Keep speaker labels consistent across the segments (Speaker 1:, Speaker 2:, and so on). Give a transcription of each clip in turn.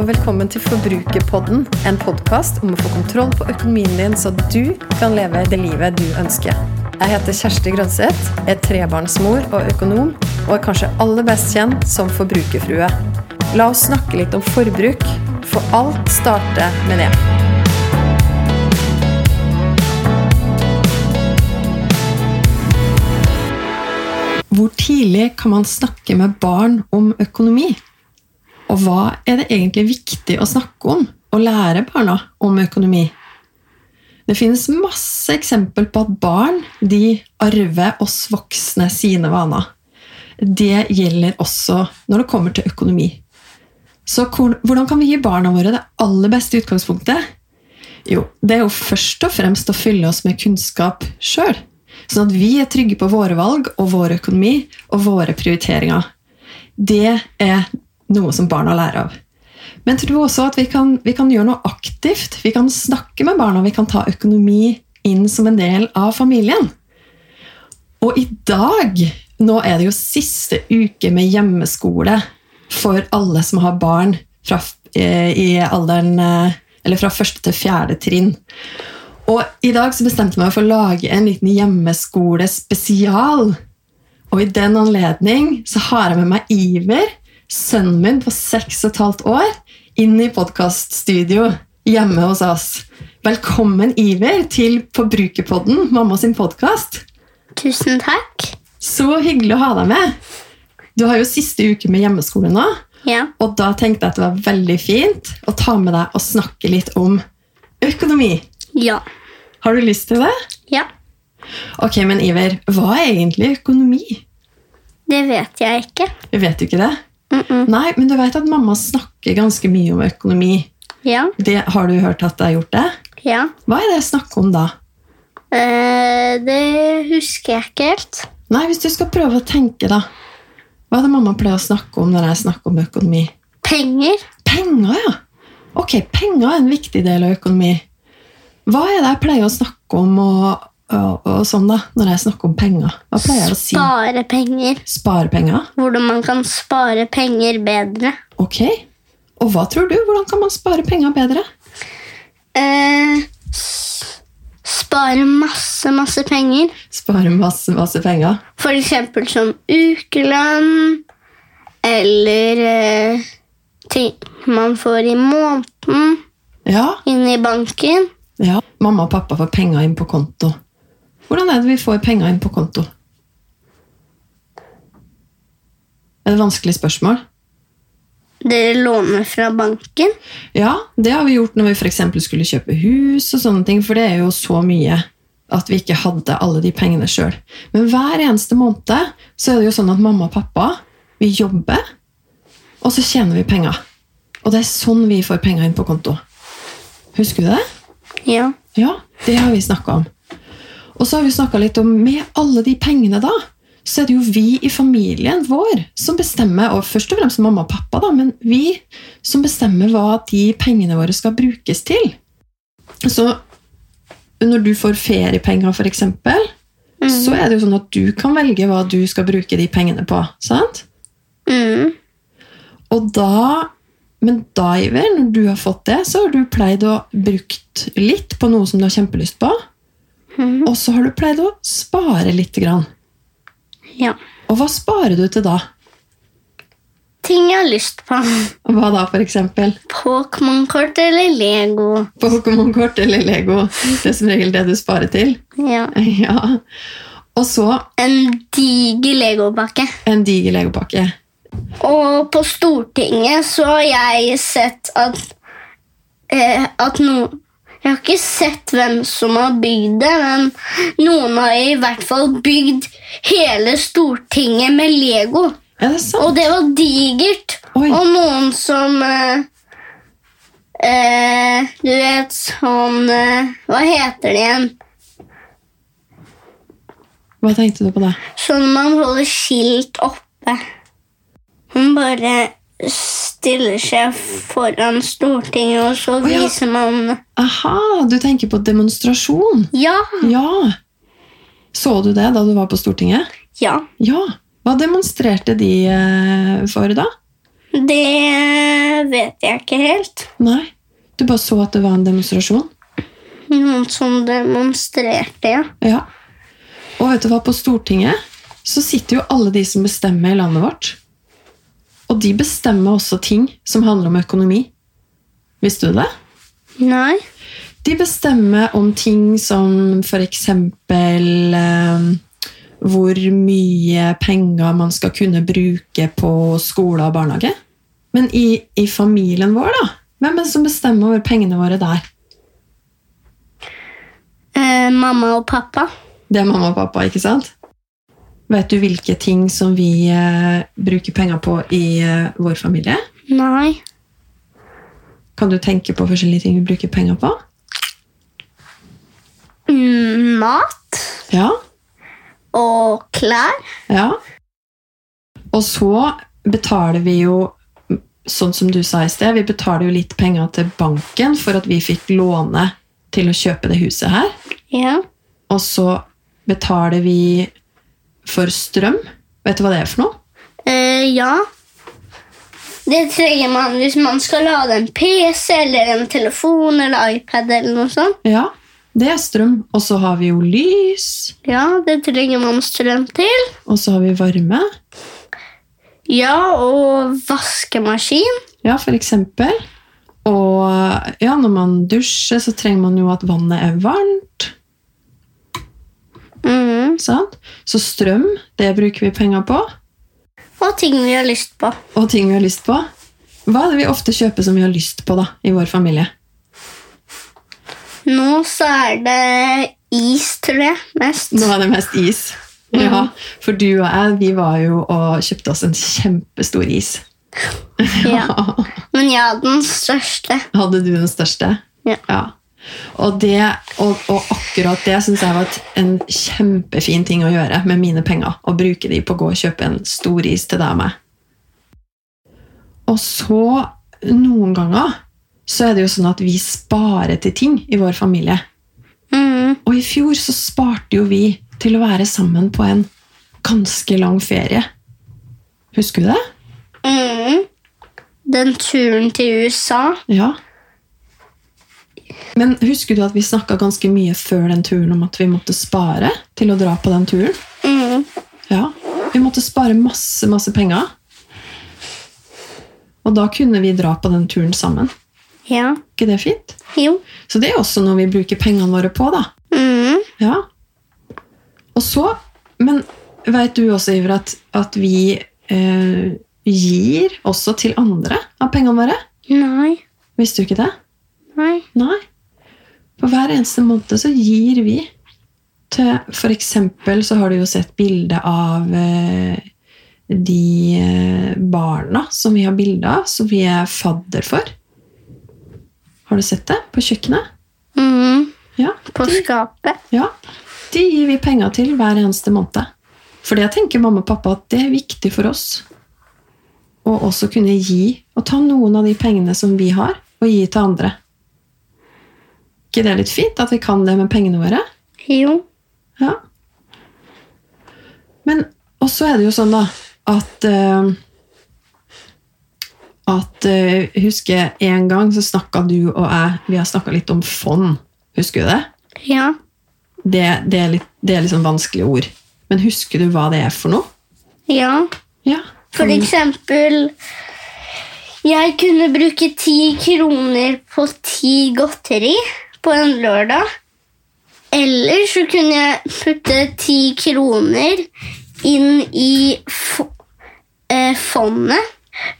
Speaker 1: velkommen til Forbrukerpodden, en podkast om å få kontroll på økonomien din, så du kan leve det livet du ønsker. Jeg heter Kjersti Grønseth, er trebarnsmor og økonom, og er kanskje aller best kjent som forbrukerfrue. La oss snakke litt om forbruk, for alt starter med det. Hvor tidlig kan man snakke med barn om økonomi? Og hva er det egentlig viktig å snakke om og lære barna om økonomi? Det finnes masse eksempel på at barn de arver oss voksne sine vaner. Det gjelder også når det kommer til økonomi. Så hvor- hvordan kan vi gi barna våre det aller beste utgangspunktet? Jo, det er jo først og fremst å fylle oss med kunnskap sjøl. Sånn at vi er trygge på våre valg og vår økonomi og våre prioriteringer. Det er noe som barna lærer av. Men jeg tror også at vi kan, vi kan gjøre noe aktivt. Vi kan snakke med barna, vi kan ta økonomi inn som en del av familien. Og i dag, nå er det jo siste uke med hjemmeskole for alle som har barn fra, f- eh, i alderen, eh, eller fra første til fjerde trinn. Og i dag så bestemte jeg meg for å lage en liten hjemmeskolespesial. Og i den anledning så har jeg med meg Iver, sønnen min på seks og et halvt år, inn i podkaststudio hjemme hos oss. Velkommen, Iver, til Forbrukerpodden, mamma sin podkast.
Speaker 2: Tusen takk.
Speaker 1: Så hyggelig å ha deg med. Du har jo siste uke med hjemmeskole nå,
Speaker 2: Ja.
Speaker 1: og da tenkte jeg at det var veldig fint å ta med deg og snakke litt om økonomi.
Speaker 2: Ja.
Speaker 1: Har du lyst til det?
Speaker 2: Ja.
Speaker 1: Ok, men Iver, hva er egentlig økonomi?
Speaker 2: Det vet jeg ikke.
Speaker 1: Vi vet jo ikke det.
Speaker 2: Mm -mm.
Speaker 1: Nei, men du vet at mamma snakker ganske mye om økonomi.
Speaker 2: Ja.
Speaker 1: Det, har du hørt at jeg har gjort det?
Speaker 2: Ja.
Speaker 1: Hva er det jeg snakker om da?
Speaker 2: Eh, det husker jeg ikke helt.
Speaker 1: Nei, hvis du skal prøve å tenke da. Hva er det mamma pleier å snakke om når jeg snakker om økonomi?
Speaker 2: Penger.
Speaker 1: Penger, ja. Ok, penger er en viktig del av økonomi. Hva er det jeg pleier å snakke om og, og, og sånn da, når jeg snakker om penger? Hva pleier jeg å si?
Speaker 2: Spare penger.
Speaker 1: Sparepenger?
Speaker 2: Hvordan man kan spare penger bedre.
Speaker 1: Ok. Og hva tror du? Hvordan kan man spare penger bedre?
Speaker 2: Eh, s- spare masse, masse penger.
Speaker 1: Spare masse, masse penger.
Speaker 2: For eksempel som ukelønn eller eh, ting man får i måneden
Speaker 1: Ja,
Speaker 2: inne i banken.
Speaker 1: Ja, mamma og pappa får penger inn på konto. Hvordan er det vi får penger inn på konto? Er det et vanskelig spørsmål?
Speaker 2: Dere låner fra banken.
Speaker 1: Ja, det har vi gjort når vi for eksempel skulle kjøpe hus og sånne ting, for det er jo så mye at vi ikke hadde alle de pengene sjøl. Men hver eneste måned så er det jo sånn at mamma og pappa vi jobber, og så tjener vi penger. Og det er sånn vi får penger inn på konto. Husker du det?
Speaker 2: Ja.
Speaker 1: Ja, det har vi snakka om. Og så har vi snakka litt om med alle de pengene, da, så er det jo vi i familien vår som bestemmer, og først og fremst mamma og pappa, da, men vi som bestemmer hva de pengene våre skal brukes til. Så når du får feriepenger, for eksempel,
Speaker 2: Mm.
Speaker 1: så er det jo sånn at du kan velge hva du skal bruke de pengene på. sant?
Speaker 2: Mm.
Speaker 1: Og da, men da, Iver, når du har fått det, så har du pleid å brukt litt på noe som du har kjempelyst på.
Speaker 2: Mhm.
Speaker 1: Og så har du pleid å spare litt. Grann.
Speaker 2: Ja.
Speaker 1: Og hva sparer du til da?
Speaker 2: Ting jeg har lyst på.
Speaker 1: Hva da, for eksempel?
Speaker 2: Pokémon-kort eller Lego.
Speaker 1: Pokémon-kort eller Lego? Det er som regel det du sparer til.
Speaker 2: Ja.
Speaker 1: Ja. Og så
Speaker 2: En diger Lego-pakke.
Speaker 1: en diger legopakke.
Speaker 2: Og på Stortinget så har jeg sett at eh, At noen Jeg har ikke sett hvem som har bygd det, men noen har i hvert fall bygd hele Stortinget med Lego.
Speaker 1: Er det sant?
Speaker 2: Og det var digert.
Speaker 1: Oi.
Speaker 2: Og noen som eh, eh, Du vet sånn eh, Hva heter det igjen?
Speaker 1: Hva tenkte du på da?
Speaker 2: Sånn man holder skilt oppe. Man bare stiller seg foran Stortinget, og så
Speaker 1: ja.
Speaker 2: viser man
Speaker 1: Aha, du tenker på demonstrasjon.
Speaker 2: Ja!
Speaker 1: Ja. Så du det da du var på Stortinget?
Speaker 2: Ja.
Speaker 1: Ja. Hva demonstrerte de eh, for da?
Speaker 2: Det vet jeg ikke helt.
Speaker 1: Nei. Du bare så at det var en demonstrasjon?
Speaker 2: Noen som demonstrerte, ja.
Speaker 1: Ja. Og vet du hva, på Stortinget så sitter jo alle de som bestemmer i landet vårt. Og de bestemmer også ting som handler om økonomi. Visste du det?
Speaker 2: Nei.
Speaker 1: De bestemmer om ting som f.eks. Eh, hvor mye penger man skal kunne bruke på skole og barnehage. Men i, i familien vår, da? Hvem er det som bestemmer over pengene våre der?
Speaker 2: Eh, mamma og pappa.
Speaker 1: Det er mamma og pappa, ikke sant? Vet du hvilke ting som vi eh, bruker penger på i eh, vår familie?
Speaker 2: Nei.
Speaker 1: Kan du tenke på forskjellige ting vi bruker penger på?
Speaker 2: Mm, mat
Speaker 1: Ja,
Speaker 2: og klær.
Speaker 1: Ja. Og så betaler vi jo, sånn som du sa i sted, vi betaler jo litt penger til banken for at vi fikk låne til å kjøpe det huset her.
Speaker 2: Ja.
Speaker 1: Og så betaler vi for strøm. Vet du hva det er for noe?
Speaker 2: Eh, ja. Det trenger man hvis man skal lade en PC eller en telefon eller iPad eller noe sånt.
Speaker 1: Ja, det er strøm. Og så har vi jo lys,
Speaker 2: Ja, det trenger man strøm til.
Speaker 1: og så har vi varme.
Speaker 2: Ja, og vaskemaskin.
Speaker 1: Ja, for eksempel. Og ja, når man dusjer, så trenger man jo at vannet er varmt.
Speaker 2: Mhm.
Speaker 1: Sant? Så strøm, det bruker vi penger på.
Speaker 2: Og ting vi har lyst på.
Speaker 1: og ting vi har lyst på. Hva er det vi ofte kjøper som vi har lyst på da, i vår familie?
Speaker 2: Nå så er det is, tror jeg, mest.
Speaker 1: Nå er det mest is. Ja, For du og jeg vi var jo og kjøpte oss en kjempestor is.
Speaker 2: Ja. Men ja, den største.
Speaker 1: Hadde du den største?
Speaker 2: Ja.
Speaker 1: Og, det, og, og akkurat det syns jeg var et- en kjempefin ting å gjøre med mine penger. Å bruke de på å gå og kjøpe en stor is til deg og meg. Og så, noen ganger, så er det jo sånn at vi sparer til ting i vår familie.
Speaker 2: Mhm.
Speaker 1: Og i fjor så sparte jo vi til å være sammen på en ganske lang ferie. Husker du det?
Speaker 2: Mhm. Den turen til USA.
Speaker 1: Ja. Men husker du at vi snakka ganske mye før den turen om at vi måtte spare til å dra på den turen?
Speaker 2: Mhm.
Speaker 1: Ja. Vi måtte spare masse, masse penger. Og da kunne vi dra på den turen sammen.
Speaker 2: Ja.
Speaker 1: ikke det fint?
Speaker 2: Jo.
Speaker 1: Så det er også noe vi bruker pengene våre på, da.
Speaker 2: Mhm.
Speaker 1: Ja. Og så Men veit du også, Iver, at, at vi eh, gir også til andre av pengene våre?
Speaker 2: Nei.
Speaker 1: Visste du ikke det?
Speaker 2: Nei.
Speaker 1: Nei. For hver eneste måned så gir vi til For eksempel så har du jo sett bilde av eh, de eh, barna som vi har bilde av, som vi er fadder for. Har du sett det? På kjøkkenet?
Speaker 2: Mhm.
Speaker 1: Ja.
Speaker 2: På skapet.
Speaker 1: Ja, de gir vi penger til hver eneste måned. Fordi jeg tenker mamma og pappa at det er viktig for oss å også kunne gi og ta noen av de pengene som vi har, og gi til andre. ikke det er litt fint at vi kan det med pengene våre?
Speaker 2: Jo.
Speaker 1: Ja. Men og så er det jo sånn, da, at eh, At eh, Husker jeg en gang så snakka du og jeg Vi har snakka litt om fond. Husker du det?
Speaker 2: Ja.
Speaker 1: det, det, er litt, det er liksom vanskelige ord. Men husker du hva det er for noe?
Speaker 2: Ja.
Speaker 1: Ja.
Speaker 2: For
Speaker 1: Mm.
Speaker 2: eksempel Jeg kunne bruke ti kroner på ti godteri på en lørdag. Eller så kunne jeg putte ti kroner inn i fo- eh, fondet.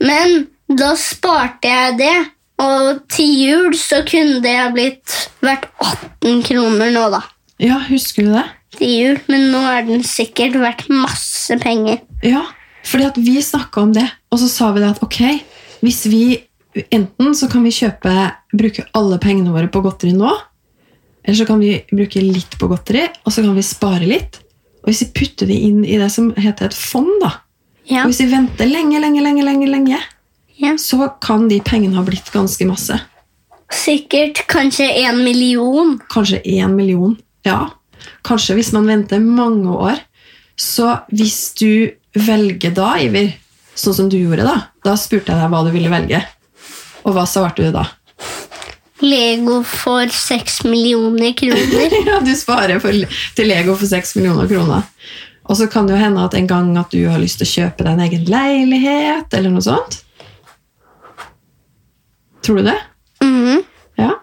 Speaker 2: Men da sparte jeg det, og til jul så kunne det ha blitt vært 18 kroner nå, da.
Speaker 1: ja, husker du det?
Speaker 2: Til jul. Men nå er den sikkert verdt masse penger.
Speaker 1: Ja, fordi at vi snakka om det, og så sa vi det at ok, hvis vi enten så kan vi kjøpe, bruke alle pengene våre på godteri nå, eller så kan vi bruke litt på godteri, og så kan vi spare litt. Og hvis vi putter det inn i det som heter et fond, da,
Speaker 2: Ja.
Speaker 1: og hvis vi venter lenge, lenge, lenge, lenge, lenge,
Speaker 2: ja.
Speaker 1: så kan de pengene ha blitt ganske masse.
Speaker 2: Sikkert kanskje en million.
Speaker 1: kanskje én million. Ja, kanskje hvis man venter mange år. Så hvis du velger da, Iver, sånn som du gjorde da. Da spurte jeg deg hva du ville velge. Og hva svarte du da?
Speaker 2: Lego for seks millioner kroner.
Speaker 1: Ja, du sparer for, til Lego for 6 millioner kroner. Og så kan det jo hende at en gang at du har lyst til å kjøpe deg en egen leilighet, eller noe sånt. Tror du det?
Speaker 2: Mhm.
Speaker 1: Ja.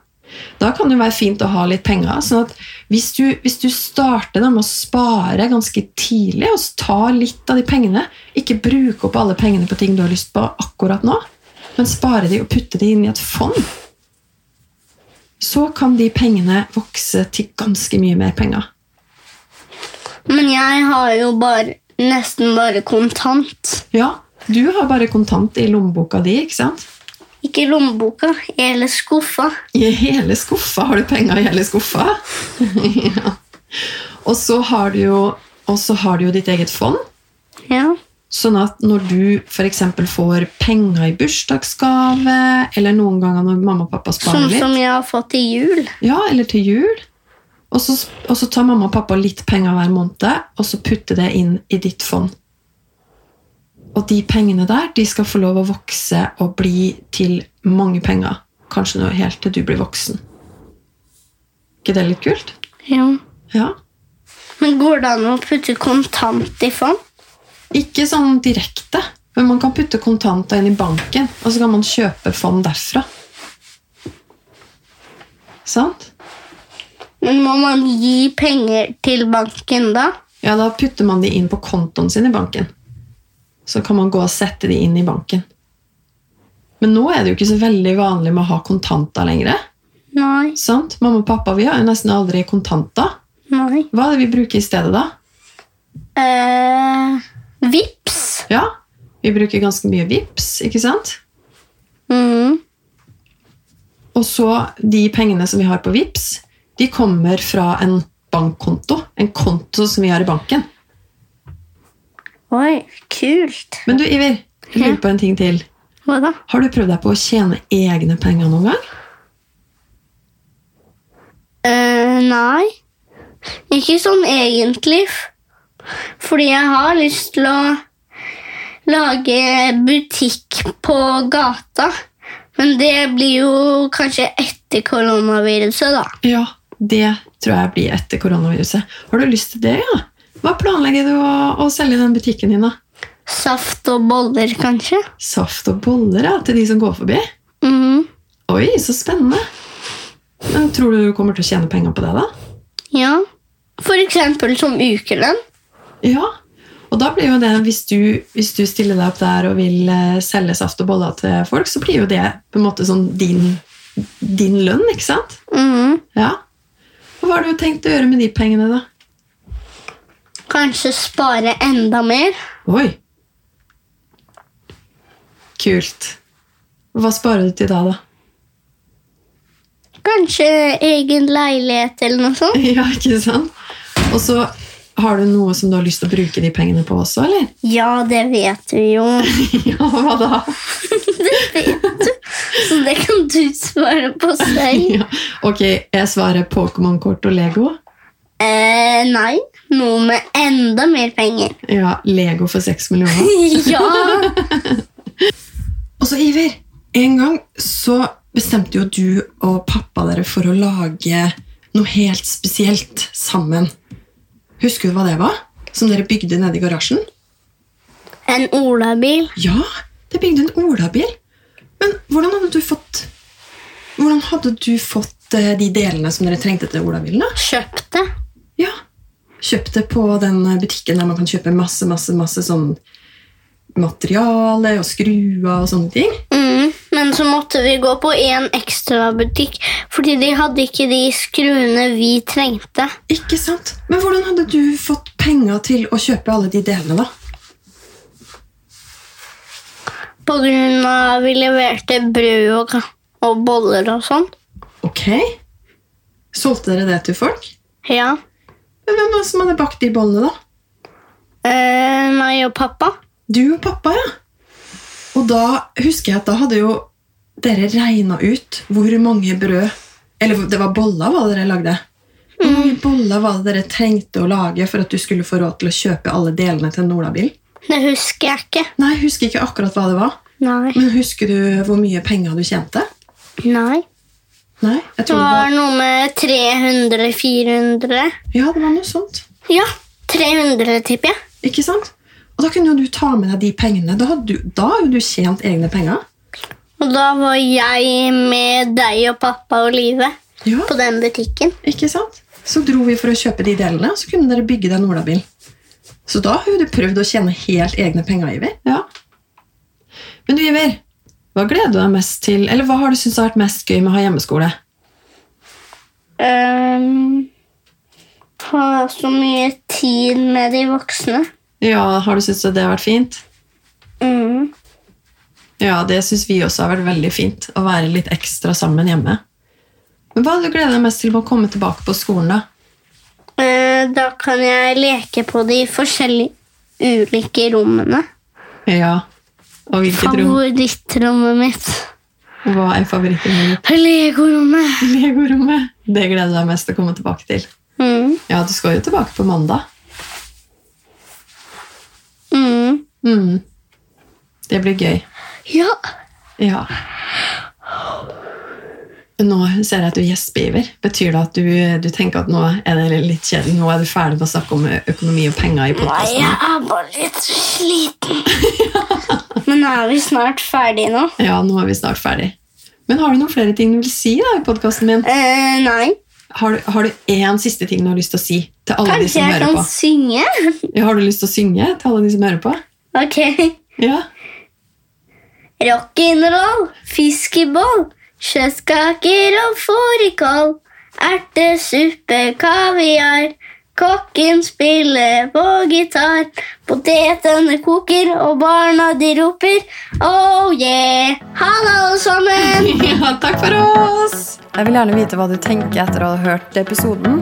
Speaker 1: Da kan det jo være fint å ha litt penger. sånn at hvis du, hvis du starter da med å spare ganske tidlig og ta litt av de pengene Ikke bruke opp alle pengene på ting du har lyst på akkurat nå, men spare de og putte de inn i et fond Så kan de pengene vokse til ganske mye mer penger.
Speaker 2: Men jeg har jo bare, nesten bare kontant.
Speaker 1: Ja, du har bare kontant i lommeboka di, ikke sant?
Speaker 2: Ikke i lommeboka eller skuffa.
Speaker 1: I hele skuffa har du penger i hele skuffa. ja. Og så har du jo, og så har du jo ditt eget fond.
Speaker 2: Ja.
Speaker 1: Sånn at når du f.eks. får penger i bursdagsgave, eller noen ganger når mamma og pappa sparer
Speaker 2: Sånn
Speaker 1: litt,
Speaker 2: som jeg har fått til jul.
Speaker 1: ja, eller til jul, og så, og så tar mamma og pappa litt penger hver måned, og så putter det inn i ditt fond. Og de pengene der de skal få lov å vokse og bli til mange penger. Kanskje nå helt til du blir voksen. ikke det litt kult?
Speaker 2: Ja.
Speaker 1: Ja.
Speaker 2: Men går det an å putte kontant i fond?
Speaker 1: Ikke sånn direkte, men man kan putte kontanter inn i banken, og så kan man kjøpe fond derfra. Sant?
Speaker 2: Men må man gi penger til banken da?
Speaker 1: Ja, da putter man de inn på kontoen sin i banken. Så kan man gå og sette de inn i banken. Men nå er det jo ikke så veldig vanlig med å ha kontanter lenger.
Speaker 2: Nei.
Speaker 1: Sant? Mamma og pappa vi har jo nesten aldri kontanter.
Speaker 2: Nei.
Speaker 1: Hva er det vi bruker i stedet, da?
Speaker 2: Eh, vips.
Speaker 1: Ja, Vi bruker ganske mye VIPS, ikke sant?
Speaker 2: Mhm.
Speaker 1: Og så de pengene som vi har på VIPS, de kommer fra en bankkonto. En konto som vi har i banken.
Speaker 2: Oi, kult.
Speaker 1: Men du, Iver, jeg lurer på en ting til.
Speaker 2: Hva da?
Speaker 1: Har du prøvd deg på å tjene egne penger noen gang?
Speaker 2: Eh, nei. Ikke sånn egentlig. f- Fordi jeg har lyst til å lage butikk på gata. Men det blir jo kanskje etter koronaviruset, da.
Speaker 1: Ja, det tror jeg blir etter koronaviruset. Har du lyst til det, ja? Hva planlegger du å, å selge i den butikken din, da?
Speaker 2: Saft og boller, kanskje.
Speaker 1: Saft og boller, ja, til de som går forbi?
Speaker 2: Mhm.
Speaker 1: Oi, så spennende! Men tror du du kommer til å tjene penger på det, da?
Speaker 2: Ja. For eksempel som ukelønn.
Speaker 1: Ja, og da blir jo det, hvis du, hvis du stiller deg opp der og vil eh, selge saft og boller til folk, så blir jo det på en måte sånn din, din lønn, ikke sant?
Speaker 2: Mhm.
Speaker 1: Ja. Og hva har du tenkt å gjøre med de pengene, da?
Speaker 2: Kanskje spare enda mer.
Speaker 1: Oi! Kult. Hva sparer du til da, da?
Speaker 2: Kanskje egen leilighet eller noe sånt.
Speaker 1: Ja, ikke sant? Og så har du noe som du har lyst til å bruke de pengene på også, eller?
Speaker 2: Ja, det vet vi jo.
Speaker 1: Ja, hva da?
Speaker 2: Så det kan du svare på selv.
Speaker 1: Ja. Ok, jeg svarer Pokémon-kort og Lego.
Speaker 2: Eh, nei. Noe med enda mer penger.
Speaker 1: Ja, Lego for 6 millioner.
Speaker 2: ja.
Speaker 1: Og så, Iver, en gang så bestemte jo du og pappa dere for å lage noe helt spesielt sammen. Husker du hva det var? Som dere bygde nede i garasjen?
Speaker 2: En olabil.
Speaker 1: Ja, dere bygde en olabil. Men hvordan hadde du fått Hvordan hadde du fått eh, de delene som dere trengte til olabilen? da?
Speaker 2: Kjøpte.
Speaker 1: Ja, Kjøpt det på den eh, butikken der man kan kjøpe masse masse, masse sånn materiale og skruer og sånne ting?
Speaker 2: Mm, men så måtte vi gå på en ekstra butikk, fordi de hadde ikke de skruene vi trengte.
Speaker 1: Ikke sant? Men hvordan hadde du fått penger til å kjøpe alle de delene, da?
Speaker 2: På grunn av vi leverte brød og, og boller og sånn.
Speaker 1: Ok. Solgte dere det til folk?
Speaker 2: Ja.
Speaker 1: Men hvem var det som hadde bakt de bollene, da?
Speaker 2: Eh, meg og pappa.
Speaker 1: Du og pappa, ja. Og da husker jeg at da hadde jo dere regna ut hvor mange brød Eller det var boller hva dere lagde. Hvor mange boller var det dere trengte å lage for at du skulle få råd til å kjøpe alle delene til en olabil?
Speaker 2: Det husker jeg ikke.
Speaker 1: Nei, jeg husker ikke akkurat hva det var.
Speaker 2: Nei.
Speaker 1: Men husker du hvor mye penger du tjente?
Speaker 2: Nei.
Speaker 1: Nei, jeg
Speaker 2: Det
Speaker 1: tror det var
Speaker 2: var noe med 300-400.
Speaker 1: Ja, det var noe sånt.
Speaker 2: Ja, 300, tipper jeg.
Speaker 1: Ikke sant? Og da kunne jo du ta med deg de pengene. Da hadde du, da hadde du tjent egne penger.
Speaker 2: Og da var jeg med deg og pappa og Live
Speaker 1: Ja,
Speaker 2: på den butikken.
Speaker 1: ikke sant? Så dro vi for å kjøpe de delene, og så kunne dere bygge deg en olabil. Så da har jo du prøvd å tjene helt egne penger, Iver. Ja. Men du, Iver, hva gleder du deg mest til, eller hva har du syntes har vært mest gøy med å ha hjemmeskole?
Speaker 2: Um, ha så mye tid med de voksne.
Speaker 1: Ja, har du syntes at det har vært fint?
Speaker 2: Mm.
Speaker 1: Ja, det syns vi også har vært veldig fint. Å være litt ekstra sammen hjemme. Men hva hadde du gleda deg mest til med å komme tilbake på skolen, da?
Speaker 2: Eh, da kan jeg leke på de forskjellige ulike rommene.
Speaker 1: Ja. Og hvilket rom?
Speaker 2: Favorittrommet mitt.
Speaker 1: Hva er favorittrommet ditt?
Speaker 2: Legorommet.
Speaker 1: Legorommet. Det gleder jeg meg mest til å komme tilbake til.
Speaker 2: Mm.
Speaker 1: Ja, du skal jo tilbake på mandag.
Speaker 2: Mm.
Speaker 1: Mm. Det blir gøy.
Speaker 2: Ja.
Speaker 1: Ja. Nå ser jeg at du gjesper, Iver. Betyr det at du, du tenker at nå er det litt kjedelig? Nå er du ferdig med å snakke om økonomi og penger i
Speaker 2: Nei,
Speaker 1: podkasten?
Speaker 2: jeg er bare litt sliten. Men er vi snart ferdige nå?
Speaker 1: Ja, nå er vi snart ferdig. Men har du noen flere ting du vil si da i podkasten min?
Speaker 2: Eh, nei.
Speaker 1: Har du, har du én siste ting du har lyst til å si til alle de
Speaker 2: Kanskje
Speaker 1: som
Speaker 2: jeg
Speaker 1: hører
Speaker 2: kan
Speaker 1: på?
Speaker 2: synge?
Speaker 1: Ja, har du lyst til å synge til alle de som hører på?
Speaker 2: Ok.
Speaker 1: Ja.
Speaker 2: Rock'n'roll, fiskeboll, kjøttkaker og fårikål. Ertesuppe, kaviar. Kokken spiller på gitar. Potetene koker, og barna de roper oh yeah! Ha det, alle sammen!
Speaker 1: ja, takk for oss! Jeg vil gjerne vite hva du tenker etter å ha hørt episoden.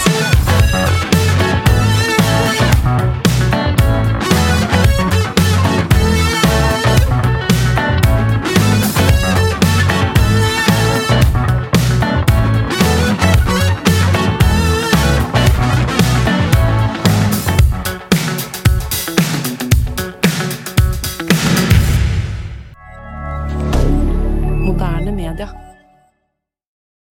Speaker 3: Moderne media.